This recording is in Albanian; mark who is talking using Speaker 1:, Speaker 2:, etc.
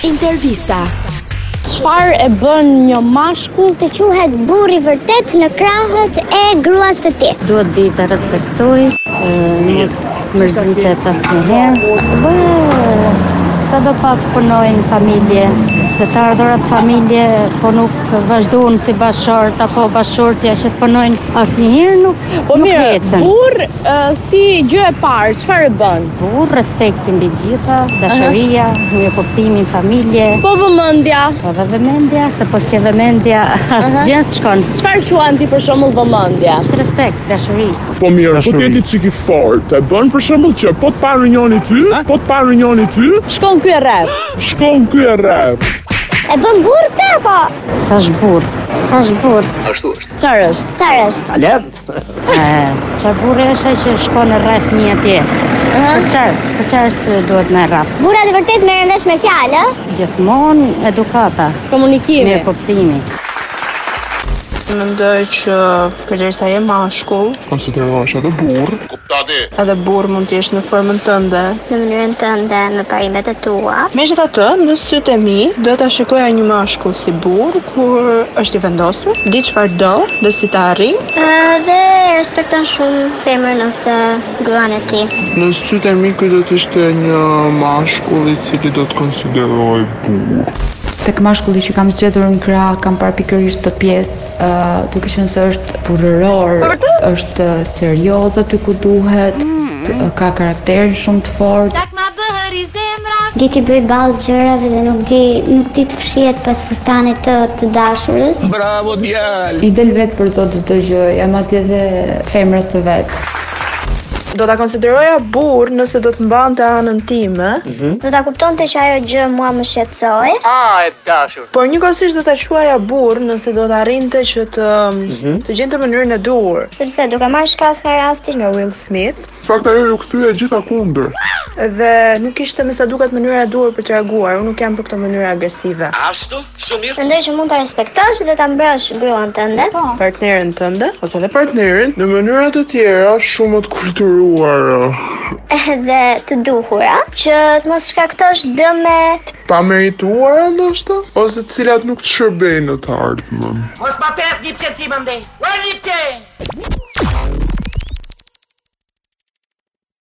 Speaker 1: Intervista.
Speaker 2: Çfarë e bën një mashkull?
Speaker 3: të quhet burri vërtet në krahët e gruas të tij.
Speaker 4: duhet di të respektoj, e, mos mërzitet asnjëherë. Bë, sa do pak punojnë familje, se të ardhurat familje po nuk vazhdojnë si bashort apo bashortja që të punojnë asnjëherë nuk,
Speaker 2: Po
Speaker 4: nuk
Speaker 2: mirë,
Speaker 4: ecën.
Speaker 2: burr ë, si gjë e parë, çfarë e bën?
Speaker 4: Burr, respekti mbi gjitha, dashuria, mirë kuptimi familje,
Speaker 2: Po vëmendja.
Speaker 4: po dhe vëmendja, se po s'ke vëmendja, asë gjë s'shkon.
Speaker 2: Çfarë quan ti për shembull vëmendja?
Speaker 4: Është Respekt, dashuri.
Speaker 5: Po mirë, po t'jeti çik i fortë, e bën për shembull që po të parë njëri ty, po të parë njëri ty,
Speaker 2: Shkon ky rreth.
Speaker 5: shkon ky e rreth.
Speaker 3: E bën burr po? këtë apo?
Speaker 4: Sa shburë.
Speaker 3: Sa zhburr.
Speaker 2: Çfarë është?
Speaker 3: Çfarë është?
Speaker 4: Qa burë është që shkon në rreth një atje. Për çfarë? Për çfarë së duhet me rreth?
Speaker 3: Burrat e vërtet merren vesh me fjalë, ë?
Speaker 4: Gjithmonë edukata,
Speaker 2: Komunikimi.
Speaker 4: mirë kuptimi.
Speaker 6: Mendoj që përderisa je mashkull,
Speaker 5: Konsiderohesh edhe burr.
Speaker 6: edhe burr mund të jesh në formën tënde.
Speaker 3: Në mënyrën tënde, në parimet e tua.
Speaker 6: Megjithatë, në sytë e mi, do ta shikoja një mashkull si burr kur është i vendosur, di çfarë do dhe si ta arrin.
Speaker 3: Dhe respekton shumë femrën ose gruan e tij.
Speaker 5: Në sytë e mi ky do të ishte një mashkull i cili do të konsiderohej burr.
Speaker 7: Tek mashkulli që kam zgjedhur në krah, kam parë pikërisht këtë pjesë, ë duke qenë se është burrëror, është serioz aty ku duhet, t- ka karakterin shumë të fortë.
Speaker 3: Di ti bëj ballë gjërave dhe nuk di nuk di të fshihet pas fustanit të të dashurës.
Speaker 7: I del vetë për të çdo gjë, jam atje dhe femrës së vet.
Speaker 6: Do ta konsideroja burr nëse do të mbante anën time,
Speaker 3: Do ta kuptonte që ajo gjë mua më shqetësoi.
Speaker 6: por njëkohësisht do ta quaja burr nëse do të arrinte që të të gjente mënyrën e duhur,
Speaker 3: Sepse duke marrë shkas nga rasti
Speaker 6: nga Will Smith,
Speaker 5: Fakt ajo ju kthye gjitha kundër.
Speaker 6: dhe nuk ishte me sa duket mënyra e duhur për të reaguar. Unë nuk jam për këtë mënyrë agresive.
Speaker 3: Mendoj që mund ta respektosh dhe ta mbrosh gruan tënde. Po.
Speaker 6: Partnerën tënde ose edhe
Speaker 5: Partnerin në mënyra të tjera shumë më të kulturuara,
Speaker 3: Edhe të duhura, që të mos shkaktosh dëme.
Speaker 5: pa merituara ndoshta, ose të cilat nuk të shërbejnë në të ardhmen.